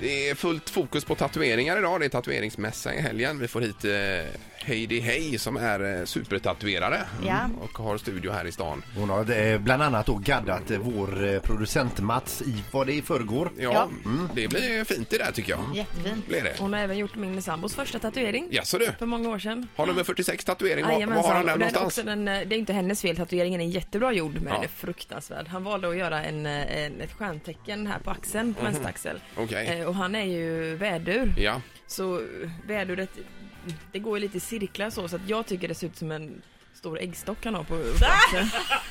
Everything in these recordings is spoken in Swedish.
Det är fullt fokus på tatueringar idag. Det är tatueringsmässa i helgen. Vi får hit eh, Heidi Hey som är eh, supertatuerare Ja. mm, och har studio här i stan. Hon har eh, bland annat då gaddat eh, vår eh, producent Mats i vad det är i förrgår. Ja, mm, Ja. det blir fint det där tycker jag. Jättefint. Blir det? Hon har även gjort min sambos första tatuering. Jaså du? För många år sedan. Har nummer 46 tatuering. Var, var Jajamensan. har han den Och är någonstans? också den, eh, det är inte hennes fel, tatueringen är jättebra gjord men Ja. den är fruktansvärd. Han valde att göra en, eh, en, ett stjärntecken här på axeln, Mhm. på vänster axel. Okej. Eh, och han är ju vädur. Ja. Så eh, väduret, det går ju lite i cirklar så, så att jag tycker det ser ut som en stor äggstock han har på, på Ah! axeln.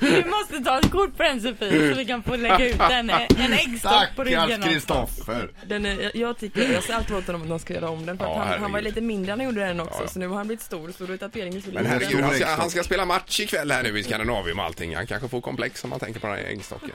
Du måste ta ett kort på den Sofie så vi kan få lägga ut en, en äggstock på ryggen. Stackars också. Kristoffer! Den är, jag- jag tycker, jag säger alltid åt honom att de ska göra om den för Ja, att han, han var herregud. lite mindre när han gjorde den också Ja, ja. så nu har han blivit stor så då är tatueringen så Men liten. herregud, han ska, äggstock. han ska spela match ikväll här nu i Skandinavium och allting. Han kanske får komplex om han tänker på den här äggstocken.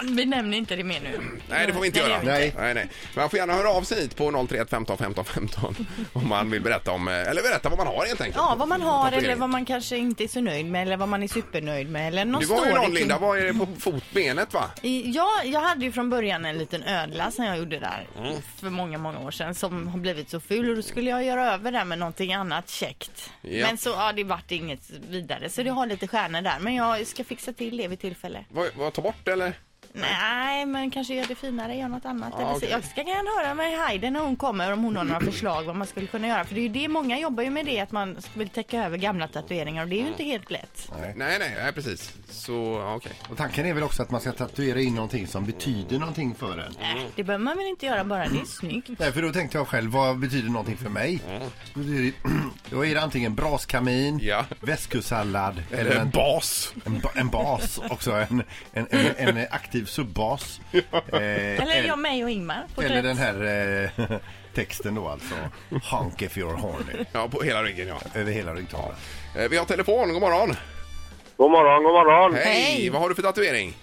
Mm. Vi nämner inte det mer nu. Nej, det får vi inte göra. Nej. Nej, nej. Men han får gärna höra av sig hit på 031 15 15 15 om man vill berätta om, eh, eller berätta vad man har helt enkelt. Ja, vad man har Tatuering. eller vad man kanske inte är så nöjd med eller vad man är supernöjd med eller någon Du var ju story någon kring- Linda, vad är det på fotbenet va? I- Ja, jag hade ju från början en liten ödla som jag gjorde där Mm. för många, många år sedan som har blivit så ful och då skulle jag göra över det med någonting annat käckt. Ja. Men så, ja det vart inget vidare så det har lite stjärnor där men jag ska fixa till det vid tillfälle. Vad, vad ta bort eller? Nej, men kanske gör det finare, gör något annat. Ja, eller så. okej. Jag ska gärna höra med Heidi när hon kommer om hon har några förslag vad man skulle kunna göra. För det är ju det, många jobbar ju med det att man vill täcka över gamla tatueringar och det är ju inte helt lätt. Nej, nej, nej, precis. Så, ja, okej. Och tanken är väl också att man ska tatuera in någonting som betyder någonting för en. Mm. Äh, det behöver man väl inte göra bara det är snyggt. Nej, för då tänkte jag själv, vad betyder någonting för mig? Då är det, då är det antingen braskamin, Ja. väskusallad eller Eller en, bas. en, ba- en bas också. En, en, en, en aktiv subbas. Eh, Eller jag, mig och Ingmar. eller den här eh, texten då alltså. Honk if you're horny. Ja, på hela ryggen ja. Över hela ryggtavlan. Eh, Vi har telefon, god morgon. God morgon, god morgon. Hej. Hej. Vad har du för tatuering?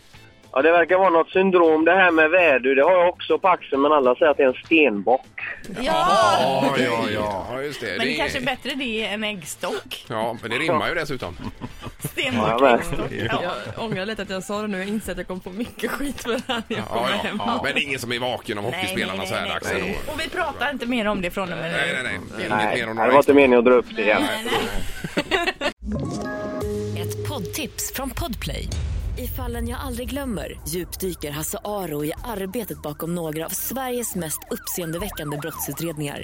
Ja, det verkar vara något syndrom det här med vädur. Det har jag också på axeln, men alla säger att det är en stenbock. Ja, Ja, ja, ja. ja just det. men det är- är kanske är bättre det än äggstock. Ja, men det rimmar ju dessutom. Stenbock Ja, äggstock. Ja. Jag ångrar lite att jag sa det nu, jag inser att jag kom på mycket skit för det här när jag kommer Ja, ja, hem. ja. Men det är ingen som är vaken om hockeyspelarna så här dags ändå. Nej, Och vi pratar inte mer om det från och med nu. nej, nej. Det är Inget Nej, mer om det några var inte äggstock. meningen att dra upp det igen. Ett poddtips från Podplay. I fallen jag aldrig glömmer djupdyker Hasse Aro i arbetet bakom några av Sveriges mest uppseendeväckande brottsutredningar.